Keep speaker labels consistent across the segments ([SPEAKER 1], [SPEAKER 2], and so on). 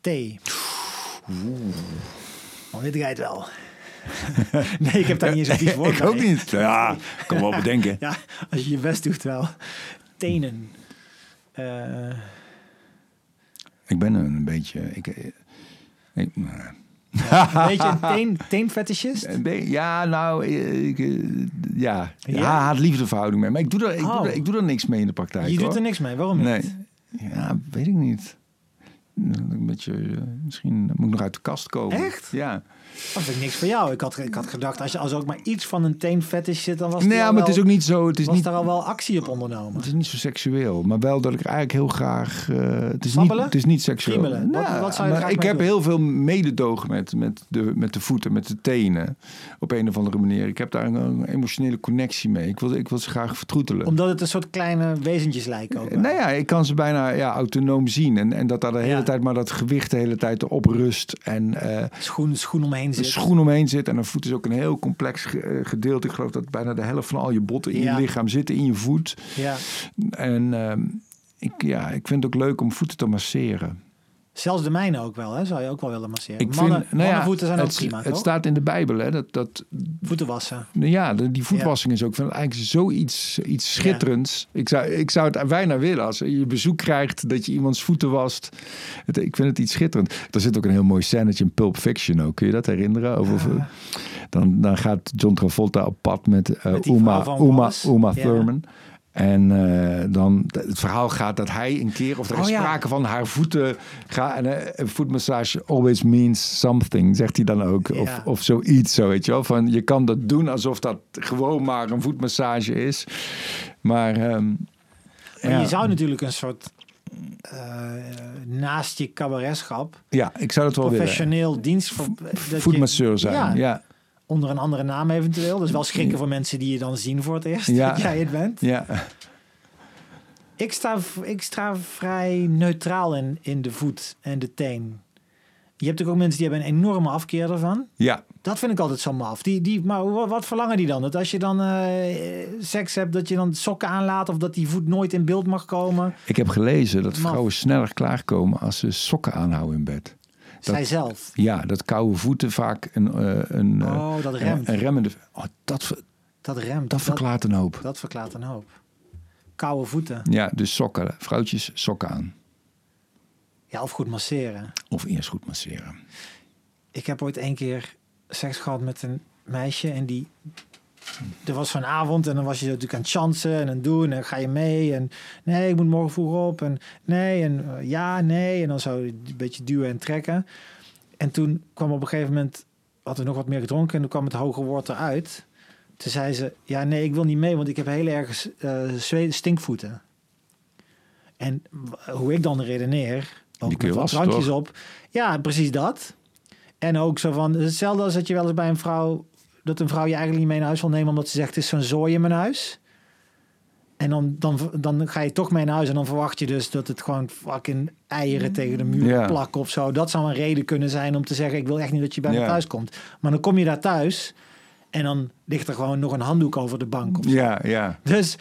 [SPEAKER 1] thee. Oh, dit rijdt wel. nee, ik heb daar niet eens een dief woord
[SPEAKER 2] ik ook
[SPEAKER 1] bij.
[SPEAKER 2] niet. Ja, ik kan wel bedenken.
[SPEAKER 1] Ja, als je je best doet wel. Tenen. Eh,
[SPEAKER 2] Ik ben een beetje... Ik, eh, ik, eh,
[SPEAKER 1] een beetje teen, teenfetishist?
[SPEAKER 2] een be- ja, nou, eh, ik, eh, ja.
[SPEAKER 1] Ja?
[SPEAKER 2] ja haat-liefde verhouding mee. Maar ik doe, daar, ik,
[SPEAKER 1] Oh.
[SPEAKER 2] doe daar, ik doe daar niks mee in de praktijk,
[SPEAKER 1] Je
[SPEAKER 2] hoor.
[SPEAKER 1] doet er niks mee, waarom
[SPEAKER 2] Nee.
[SPEAKER 1] niet?
[SPEAKER 2] Ja, weet ik niet. Een beetje, eh, misschien moet ik nog uit de kast komen.
[SPEAKER 1] Echt?
[SPEAKER 2] Ja.
[SPEAKER 1] Dat vind ik niks voor jou. Ik had, ik had gedacht, als, je, als er ook maar iets van een teenfetish zit, dan was,
[SPEAKER 2] Nee,
[SPEAKER 1] die al
[SPEAKER 2] maar het
[SPEAKER 1] wel-
[SPEAKER 2] is ook niet zo. Het is
[SPEAKER 1] was
[SPEAKER 2] niet,
[SPEAKER 1] daar al wel actie op ondernomen.
[SPEAKER 2] het is niet zo seksueel. Maar wel dat ik eigenlijk heel graag. eh, het, is niet,
[SPEAKER 1] Sabbelen?
[SPEAKER 2] het is niet seksueel. Nou,
[SPEAKER 1] Kriebelen? Wat- wat zou je
[SPEAKER 2] maar
[SPEAKER 1] graag
[SPEAKER 2] ik
[SPEAKER 1] mee
[SPEAKER 2] heb
[SPEAKER 1] doen?
[SPEAKER 2] heel veel mededogen met, met, de, met de voeten, met de tenen. Op een of andere manier. Ik heb daar een, een emotionele connectie mee. Ik wil, ik wil ze graag vertroetelen.
[SPEAKER 1] Omdat het een soort kleine wezentjes lijken ook. wel.
[SPEAKER 2] Nou ja, ik kan ze bijna ja, autonoom zien. En, en dat daar de hele
[SPEAKER 1] Ja.
[SPEAKER 2] tijd maar dat gewicht de hele tijd op rust. En eh,
[SPEAKER 1] Schoen, schoen omheen
[SPEAKER 2] een
[SPEAKER 1] zit.
[SPEAKER 2] schoen omheen zit. En een voet is ook een heel complex ge- eh, gedeelte. Ik geloof dat bijna de helft van al je botten in
[SPEAKER 1] Ja.
[SPEAKER 2] je lichaam zitten in je voet.
[SPEAKER 1] Ja.
[SPEAKER 2] En ehm, ik, ja, ik vind het ook leuk om voeten te masseren.
[SPEAKER 1] Zelfs de mijne ook wel, hè? zou je ook wel willen masseren.
[SPEAKER 2] Ik
[SPEAKER 1] mannen,
[SPEAKER 2] vind, nou ja,
[SPEAKER 1] mannenvoeten zijn
[SPEAKER 2] het,
[SPEAKER 1] ook prima,
[SPEAKER 2] Het
[SPEAKER 1] toch?
[SPEAKER 2] staat in de Bijbel, hè, dat, dat,
[SPEAKER 1] Voeten wassen.
[SPEAKER 2] nou ja, de- die voetwassing is ook ik vind het eigenlijk zoiets iets schitterends. Ik, zou, ik zou het bijna willen als je bezoek krijgt dat je iemands voeten wast. Het- ik vind het iets schitterend. Er zit ook een heel mooi scènetje in Pulp Fiction ook. Kun je dat herinneren? Over, over- dan, dan gaat John Travolta op pad met, eh,
[SPEAKER 1] Met die
[SPEAKER 2] Uma,
[SPEAKER 1] vrouw van
[SPEAKER 2] Uma,
[SPEAKER 1] Wallace.
[SPEAKER 2] Uma
[SPEAKER 1] Ja.
[SPEAKER 2] Thurman. En eh, dan, het verhaal gaat dat hij een keer, of er is
[SPEAKER 1] Oh ja.
[SPEAKER 2] sprake van haar voeten, ga, en, eh, een voetmassage always means something, zegt hij dan ook.
[SPEAKER 1] Ja.
[SPEAKER 2] Of, of zoiets, zo weet je wel. Van, je kan dat doen alsof dat gewoon maar een voetmassage is. Maar, ehm,
[SPEAKER 1] Maar
[SPEAKER 2] ja,
[SPEAKER 1] je zou natuurlijk een soort... eh, naast je cabaretschap...
[SPEAKER 2] ja, ik zou dat wel willen.
[SPEAKER 1] professioneel dienst... Voor, dat je-
[SPEAKER 2] Voetmasseur zijn,
[SPEAKER 1] Ja,
[SPEAKER 2] ja.
[SPEAKER 1] Onder een andere naam eventueel. Dus wel schrikken voor mensen die je dan zien voor het eerst.
[SPEAKER 2] Ja.
[SPEAKER 1] Dat jij het bent.
[SPEAKER 2] ja.
[SPEAKER 1] Ik sta, v- ik sta vrij neutraal in, in de voet en de teen. Je hebt natuurlijk ook mensen die hebben een enorme afkeer daarvan.
[SPEAKER 2] ja.
[SPEAKER 1] Dat vind ik altijd zo maf. Die, die, maar wa- wat, verlangen die dan? Dat als je dan eh, eh, seks hebt, dat je dan sokken aanlaat... of dat die voet nooit in beeld mag komen?
[SPEAKER 2] Ik heb gelezen dat
[SPEAKER 1] Man.
[SPEAKER 2] vrouwen sneller klaarkomen als ze sokken aanhouden in bed. Dat-
[SPEAKER 1] Zij zelf.
[SPEAKER 2] Ja, dat koude voeten vaak een, eh, een, eh,
[SPEAKER 1] Oh, dat remt.
[SPEAKER 2] een remmende... Oh, dat, ver-
[SPEAKER 1] Dat remt.
[SPEAKER 2] dat verklaart een hoop.
[SPEAKER 1] dat verklaart een hoop. Koude voeten.
[SPEAKER 2] Ja, dus sokken. Vrouwtjes, sokken aan.
[SPEAKER 1] Ja, of goed masseren.
[SPEAKER 2] Of eerst goed masseren.
[SPEAKER 1] Ik heb ooit één keer seks gehad met een meisje en die... Er was zo'n avond en dan was je natuurlijk aan het chansen en aan het doen en ga je mee en nee, ik moet morgen vroeg op en nee en eh, ja, nee en dan zo een beetje duwen en trekken. En toen kwam op een gegeven moment, hadden we nog wat meer gedronken en toen kwam het hoge woord eruit. Toen zei ze, ja nee, ik wil niet mee, want ik heb heel erg eh, zweet- stinkvoeten. En w- hoe ik dan redeneer, ook
[SPEAKER 2] Die kun
[SPEAKER 1] met wat
[SPEAKER 2] je wassen,
[SPEAKER 1] drankjes
[SPEAKER 2] toch?
[SPEAKER 1] op. Ja, precies dat. En ook zo van, hetzelfde als dat je wel eens bij een vrouw, dat een vrouw je eigenlijk niet mee naar huis wil nemen, omdat ze zegt, het is zo'n zooi in mijn huis. En dan, dan, dan ga je toch mee naar huis en dan verwacht je dus dat het gewoon fucking eieren tegen de muur
[SPEAKER 2] Ja.
[SPEAKER 1] plakken of zo. Dat zou een reden kunnen zijn om te zeggen, ik wil echt niet dat je bij me
[SPEAKER 2] Ja.
[SPEAKER 1] thuis komt. Maar dan kom je daar thuis en dan ligt er gewoon nog een handdoek over de bank. Of zo.
[SPEAKER 2] Ja, ja.
[SPEAKER 1] Dus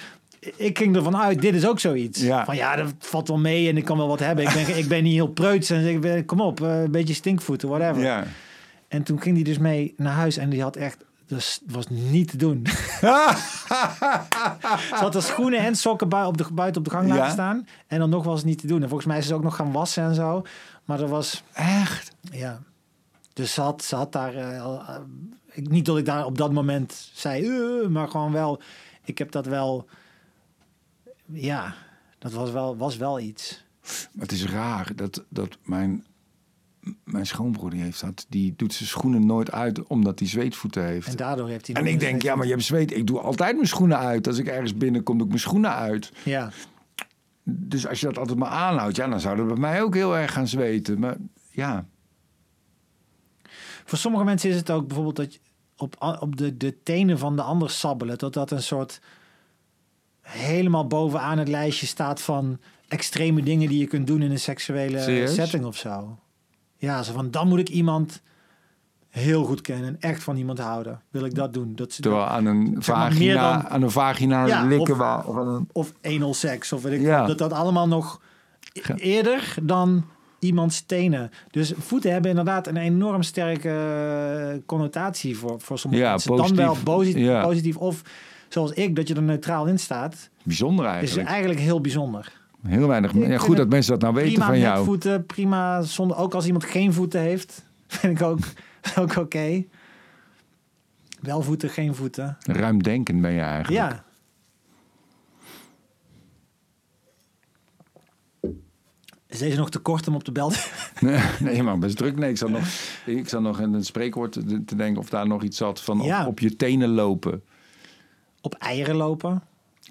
[SPEAKER 1] ik ging ervan uit, dit is ook zoiets.
[SPEAKER 2] Ja.
[SPEAKER 1] Van ja, dat valt wel mee en ik kan wel wat hebben. Ik ben, ik ben niet heel preuts en ik ben, kom op, eh, een beetje stinkvoeten, whatever.
[SPEAKER 2] ja.
[SPEAKER 1] En toen ging die dus mee naar huis en die had echt, dus het was niet te doen. Ah! Ze had haar schoenen en sokken bui- op de, buiten op de gang laten
[SPEAKER 2] Ja.
[SPEAKER 1] staan. En dan nog was het niet te doen. En volgens mij is ze ook nog gaan wassen en zo. Maar dat was,
[SPEAKER 2] Echt?
[SPEAKER 1] ja. Dus ze had, ze had daar, eh, al- eh, ik, niet dat ik daar op dat moment zei, "Eh," maar gewoon wel, ik heb dat wel, ja, dat was wel, was wel iets.
[SPEAKER 2] Maar het is raar dat, dat mijn, mijn schoonbroer die heeft dat. Die doet zijn schoenen nooit uit omdat hij zweetvoeten heeft.
[SPEAKER 1] En
[SPEAKER 2] En,
[SPEAKER 1] daardoor heeft hij...
[SPEAKER 2] ik denk, ja, maar je hebt zweet. Ik doe altijd mijn schoenen uit. Als ik ergens binnenkom, doe ik mijn schoenen uit.
[SPEAKER 1] Ja,
[SPEAKER 2] Dus als je dat altijd maar aanhoudt, ja, dan zou dat bij mij ook heel erg gaan zweten. Maar ja,
[SPEAKER 1] Voor sommige mensen is het ook bijvoorbeeld dat je op, a- op de, de tenen van de ander sabbelen. Dat dat een soort helemaal bovenaan het lijstje staat van extreme dingen die je kunt doen in een seksuele
[SPEAKER 2] Serieus?
[SPEAKER 1] setting of zo. Ja, zo van dan moet ik iemand heel goed kennen en echt van iemand houden. Wil ik dat doen? Dat,
[SPEAKER 2] terwijl aan een
[SPEAKER 1] Zeg maar meer
[SPEAKER 2] vagina,
[SPEAKER 1] dan-
[SPEAKER 2] aan een vagina
[SPEAKER 1] Ja,
[SPEAKER 2] likken
[SPEAKER 1] of-
[SPEAKER 2] waar- of aan een-
[SPEAKER 1] of anal seks of weet ik
[SPEAKER 2] Ja.
[SPEAKER 1] dat dat allemaal nog e-
[SPEAKER 2] Ge-
[SPEAKER 1] eerder dan iemands tenen. Dus voeten hebben inderdaad een enorm sterke eh, connotatie voor, voor sommige
[SPEAKER 2] Ja,
[SPEAKER 1] mensen. Dan
[SPEAKER 2] positief.
[SPEAKER 1] wel posi-
[SPEAKER 2] Ja.
[SPEAKER 1] positief of zoals ik, dat je er neutraal in staat.
[SPEAKER 2] Bijzonder
[SPEAKER 1] Is
[SPEAKER 2] eigenlijk.
[SPEAKER 1] eigenlijk heel bijzonder.
[SPEAKER 2] Heel weinig. Ja,
[SPEAKER 1] vind
[SPEAKER 2] goed dat
[SPEAKER 1] het
[SPEAKER 2] mensen dat nou weten
[SPEAKER 1] Prima
[SPEAKER 2] van
[SPEAKER 1] met
[SPEAKER 2] jou.
[SPEAKER 1] voeten, prima zonder. Ook als iemand geen voeten heeft, vind ik ook, ook oké. Wel voeten, geen voeten.
[SPEAKER 2] Ruimdenkend ben je eigenlijk.
[SPEAKER 1] Ja. Is deze nog te kort om op de bel te...
[SPEAKER 2] nee, maar best druk. Nee, ik zat nog, ik zat nog in een spreekwoord te, te denken of daar nog iets zat van op-
[SPEAKER 1] Ja.
[SPEAKER 2] op, je tenen lopen.
[SPEAKER 1] op eieren lopen?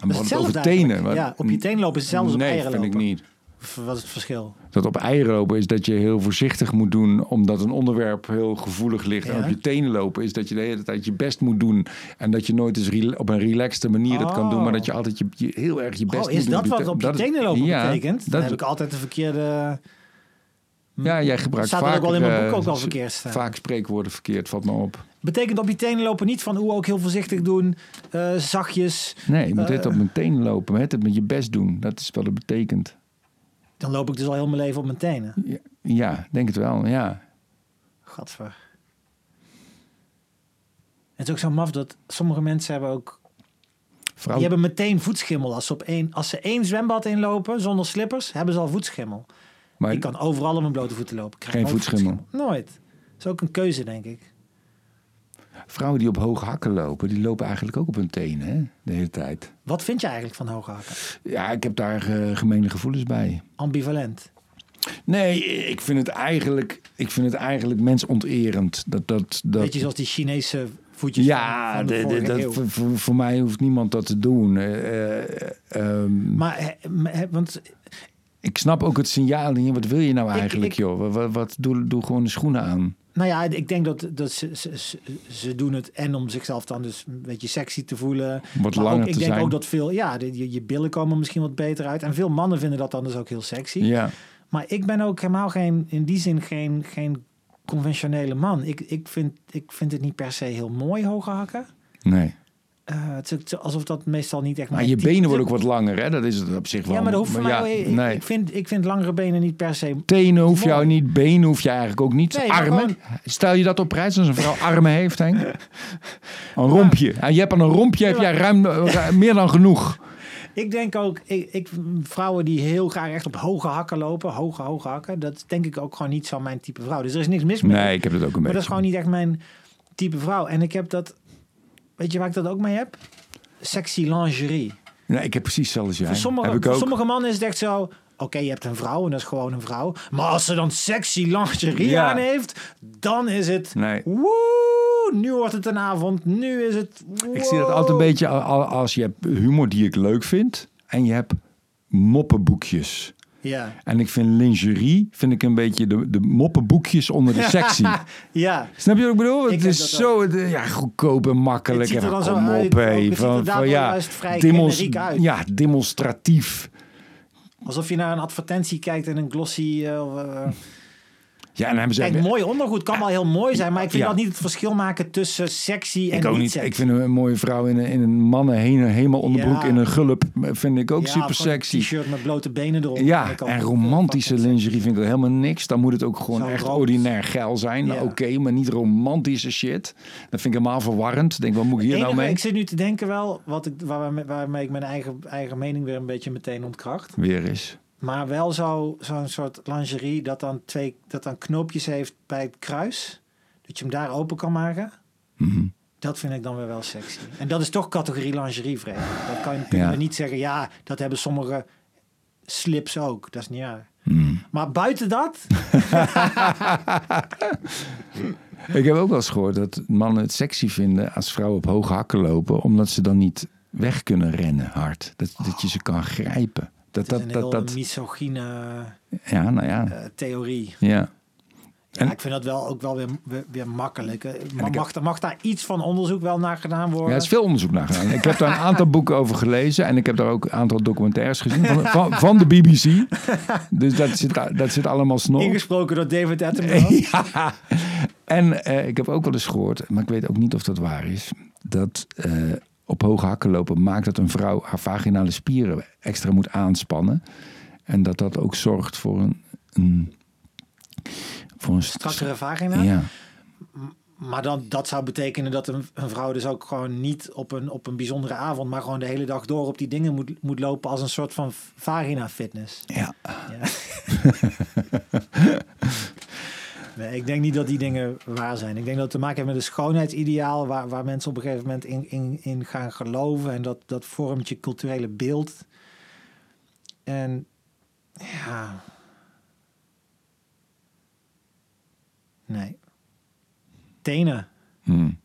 [SPEAKER 2] En we
[SPEAKER 1] Dat is
[SPEAKER 2] hadden het over
[SPEAKER 1] hetzelfde
[SPEAKER 2] tenen.
[SPEAKER 1] eigenlijk.
[SPEAKER 2] maar-
[SPEAKER 1] Ja, op je tenen lopen is hetzelfde als
[SPEAKER 2] nee,
[SPEAKER 1] op eieren
[SPEAKER 2] vind
[SPEAKER 1] lopen.
[SPEAKER 2] ik niet.
[SPEAKER 1] Of Wat is het verschil?
[SPEAKER 2] Dat op eieren lopen is dat je heel voorzichtig moet doen, omdat een onderwerp heel gevoelig ligt. En
[SPEAKER 1] Ja.
[SPEAKER 2] op je tenen lopen is dat je de hele tijd je best moet doen. En dat je nooit eens rela- op een relaxte manier dat kan doen, maar dat je altijd je, je- heel erg je best
[SPEAKER 1] oh,
[SPEAKER 2] moet
[SPEAKER 1] is
[SPEAKER 2] doen.
[SPEAKER 1] dat wat
[SPEAKER 2] te-
[SPEAKER 1] op je
[SPEAKER 2] dat is-
[SPEAKER 1] tenen lopen
[SPEAKER 2] ja,
[SPEAKER 1] betekent? Dan
[SPEAKER 2] dat-
[SPEAKER 1] heb ik altijd de verkeerde... hm.
[SPEAKER 2] ja, jij gebruikt
[SPEAKER 1] Staat er ook
[SPEAKER 2] vaak,
[SPEAKER 1] wel in mijn boek
[SPEAKER 2] eh,
[SPEAKER 1] ook wel verkeerd staan.
[SPEAKER 2] Vaak spreekwoorden verkeerd, valt me op.
[SPEAKER 1] Betekent op je tenen lopen niet van... oeh, ook heel voorzichtig doen, eh, zachtjes.
[SPEAKER 2] Nee, je moet
[SPEAKER 1] Eh,
[SPEAKER 2] dit op mijn tenen lopen. Het met je best doen. Dat is wat het betekent.
[SPEAKER 1] Dan loop ik dus al heel mijn leven op mijn tenen.
[SPEAKER 2] Ja, Ja, denk het wel. Ja.
[SPEAKER 1] Gadver. Het is ook zo maf dat sommige mensen hebben ook...
[SPEAKER 2] Vrouw,
[SPEAKER 1] Die hebben meteen voetschimmel. Als ze, op één, als ze één zwembad inlopen zonder slippers, hebben ze al voetschimmel.
[SPEAKER 2] maar
[SPEAKER 1] Ik kan overal op mijn blote voeten lopen. Ik krijg
[SPEAKER 2] Geen
[SPEAKER 1] nooit
[SPEAKER 2] voetschimmel.
[SPEAKER 1] Nooit. Dat is ook een keuze, denk ik.
[SPEAKER 2] vrouwen die op hoge hakken lopen, die lopen eigenlijk ook op hun tenen hè? de hele tijd.
[SPEAKER 1] Wat vind je eigenlijk van hoge hakken?
[SPEAKER 2] Ja, ik heb daar eh, gemene gevoelens bij.
[SPEAKER 1] Ambivalent.
[SPEAKER 2] Nee, ik vind het eigenlijk, ik vind het eigenlijk mensonterend. Dat, dat, dat,
[SPEAKER 1] Beetje zoals die Chinese voetjes van,
[SPEAKER 2] ja,
[SPEAKER 1] van de,
[SPEAKER 2] de- de-
[SPEAKER 1] vorige eeuw.
[SPEAKER 2] dat, voor- voor, voor mij hoeft niemand dat te doen. Eh, eh, ehm,
[SPEAKER 1] Maar, hè, maar, hè, want
[SPEAKER 2] ik snap ook het signaal niet. Wat wil je nou
[SPEAKER 1] Ik-
[SPEAKER 2] eigenlijk,
[SPEAKER 1] ik-
[SPEAKER 2] joh? Wat, wat, wat- doe, doe gewoon de schoenen aan.
[SPEAKER 1] nou ja, ik denk dat, dat ze, ze, ze- ze doen het en om zichzelf dan dus een beetje sexy te voelen.
[SPEAKER 2] Wat
[SPEAKER 1] maar
[SPEAKER 2] langer
[SPEAKER 1] ook, ik
[SPEAKER 2] te
[SPEAKER 1] denk
[SPEAKER 2] zijn.
[SPEAKER 1] ook dat veel, ja, de- je, je billen komen misschien wat beter uit. En veel mannen vinden dat dan dus ook heel sexy.
[SPEAKER 2] Ja.
[SPEAKER 1] Maar ik ben ook helemaal geen, in die zin geen, geen conventionele man. Ik, ik, vind, ik vind het niet per se heel mooi, hoge hakken.
[SPEAKER 2] Nee.
[SPEAKER 1] Eh, het is ook zo- alsof dat meestal niet echt...
[SPEAKER 2] Maar
[SPEAKER 1] mijn
[SPEAKER 2] je
[SPEAKER 1] type-
[SPEAKER 2] benen worden ook wat langer, hè? Dat is het op zich wel.
[SPEAKER 1] Ja, maar dat hoeft voor mij...
[SPEAKER 2] ja,
[SPEAKER 1] ik-
[SPEAKER 2] nee.
[SPEAKER 1] ik, vind, ik vind langere benen niet per se...
[SPEAKER 2] Tenen hoef jou
[SPEAKER 1] Mooi.
[SPEAKER 2] niet, benen hoef je eigenlijk ook niet.
[SPEAKER 1] Nee, maar
[SPEAKER 2] armen.
[SPEAKER 1] gewoon-
[SPEAKER 2] Stel je dat op prijs als een vrouw armen heeft, Henk. Een rompje. En je hebt aan een rompje heb jij ruim, eh, ruim- meer dan genoeg.
[SPEAKER 1] Ik denk ook... Ik, ik, vrouwen die heel graag echt op hoge hakken lopen, hoge, hoge hakken... dat is denk ik ook gewoon niet zo mijn type vrouw. Dus er is niks mis mee.
[SPEAKER 2] Nee, ik heb dat ook een
[SPEAKER 1] maar dat is
[SPEAKER 2] beetje.
[SPEAKER 1] gewoon niet echt mijn type vrouw. En ik heb dat... Weet je waar ik dat ook mee heb? Sexy lingerie.
[SPEAKER 2] Nee, ik heb precies hetzelfde als jij.
[SPEAKER 1] Voor sommige,
[SPEAKER 2] heb ik
[SPEAKER 1] voor
[SPEAKER 2] ook.
[SPEAKER 1] sommige mannen is het echt zo... Oké, je hebt een vrouw en dat is gewoon een vrouw. Maar als ze dan sexy lingerie
[SPEAKER 2] Ja.
[SPEAKER 1] aan heeft... dan is het...
[SPEAKER 2] Nee.
[SPEAKER 1] Woe, nu wordt het een avond. Nu is het...
[SPEAKER 2] Ik zie dat altijd een beetje al- al- als je hebt humor die ik leuk vind. En je hebt moppenboekjes.
[SPEAKER 1] Ja.
[SPEAKER 2] En ik vind lingerie, vind ik een beetje de, de moppenboekjes onder de sexy.
[SPEAKER 1] ja.
[SPEAKER 2] Snap je wat ik bedoel? Het
[SPEAKER 1] heb
[SPEAKER 2] is
[SPEAKER 1] dat
[SPEAKER 2] zo het, eh, ja, goedkoop en makkelijk.
[SPEAKER 1] Het ziet er
[SPEAKER 2] En
[SPEAKER 1] dan zo
[SPEAKER 2] kom
[SPEAKER 1] uit,
[SPEAKER 2] op,
[SPEAKER 1] ook.
[SPEAKER 2] hé.
[SPEAKER 1] Het ziet er
[SPEAKER 2] Van,
[SPEAKER 1] daar
[SPEAKER 2] van,
[SPEAKER 1] wel
[SPEAKER 2] ja,
[SPEAKER 1] juist vrij generiek uit.
[SPEAKER 2] ja, demonstratief.
[SPEAKER 1] Alsof je naar een advertentie kijkt en een glossy... eh, of, eh,
[SPEAKER 2] Ja, en dan hebben ze...
[SPEAKER 1] kijk, mooi ondergoed kan wel heel mooi zijn... maar ik vind
[SPEAKER 2] Ja.
[SPEAKER 1] dat niet het verschil maken tussen sexy en
[SPEAKER 2] ik ook niet.
[SPEAKER 1] niet-sexy.
[SPEAKER 2] Ik vind een mooie vrouw in een, in een mannen heen- helemaal onderbroek
[SPEAKER 1] Ja.
[SPEAKER 2] in een gulp. Vind ik ook
[SPEAKER 1] Ja,
[SPEAKER 2] super
[SPEAKER 1] gewoon een
[SPEAKER 2] sexy.
[SPEAKER 1] t-shirt met blote benen erop.
[SPEAKER 2] Ja,
[SPEAKER 1] Dat kan
[SPEAKER 2] en
[SPEAKER 1] ook
[SPEAKER 2] romantische
[SPEAKER 1] fucking
[SPEAKER 2] lingerie vind ik helemaal niks. Dan moet het ook gewoon
[SPEAKER 1] Zo'n
[SPEAKER 2] echt
[SPEAKER 1] rood.
[SPEAKER 2] ordinair geil zijn.
[SPEAKER 1] Ja.
[SPEAKER 2] Oké, maar niet romantische shit. Dat vind ik helemaal verwarrend. Ik Denk, wat moet ik hier nou
[SPEAKER 1] enige-
[SPEAKER 2] mee?
[SPEAKER 1] Ik zit nu te denken wel, wat ik, waar, waarmee ik mijn eigen, eigen mening weer een beetje meteen ontkracht.
[SPEAKER 2] Weer eens.
[SPEAKER 1] Maar wel zo- zo'n soort lingerie dat dan, twee, dat dan knoopjes heeft bij het kruis. Dat je hem daar open kan maken.
[SPEAKER 2] Mhm.
[SPEAKER 1] Dat vind ik dan weer wel sexy. En dat is toch categorie lingerie, vreemd. Dat kan je
[SPEAKER 2] Ja.
[SPEAKER 1] we niet zeggen, ja, dat hebben sommige slips ook. Dat is niet waar.
[SPEAKER 2] Mhm.
[SPEAKER 1] Maar buiten dat,
[SPEAKER 2] Ik heb ook wel eens gehoord dat mannen het sexy vinden als vrouwen op hoge hakken lopen, omdat ze dan niet weg kunnen rennen hard. Dat, dat je ze kan grijpen. Dat,
[SPEAKER 1] het is een
[SPEAKER 2] dat,
[SPEAKER 1] heel
[SPEAKER 2] dat, dat,
[SPEAKER 1] misogyne
[SPEAKER 2] ja, nou ja.
[SPEAKER 1] eh, theorie.
[SPEAKER 2] ja.
[SPEAKER 1] Ja,
[SPEAKER 2] En-
[SPEAKER 1] ik vind dat wel ook wel weer, weer, weer makkelijk. hè. Ma-
[SPEAKER 2] ik-
[SPEAKER 1] Mag, daar- mag daar iets van onderzoek wel naar gedaan
[SPEAKER 2] Ja,
[SPEAKER 1] worden?
[SPEAKER 2] er is veel onderzoek naar gedaan. Ik heb daar een aantal boeken over gelezen en ik heb daar ook een aantal documentaires gezien van, van, van de BBC. Dus dat zit, dat zit allemaal snor.
[SPEAKER 1] Ingesproken door David Attenborough.
[SPEAKER 2] Ja. En eh, ik heb ook wel eens gehoord, maar ik weet ook niet of dat waar is, dat eh, op hoge hakken lopen maakt dat een vrouw haar vaginale spieren extra moet aanspannen. En dat dat ook zorgt voor een, een Voor een
[SPEAKER 1] strakkere vagina.
[SPEAKER 2] Ja.
[SPEAKER 1] Maar dan, dat zou betekenen dat een, een vrouw dus ook gewoon niet op een, op een bijzondere avond, maar gewoon de hele dag door op die dingen moet, moet lopen als een soort van vagina fitness.
[SPEAKER 2] ja.
[SPEAKER 1] Ja. nee, ik denk niet dat die dingen waar zijn. Ik denk dat het te maken heeft met een schoonheidsideaal waar, waar mensen op een gegeven moment in, in, in gaan geloven. En dat, dat vormt je culturele beeld. En ja. Nee. Tenen.
[SPEAKER 2] Hmm.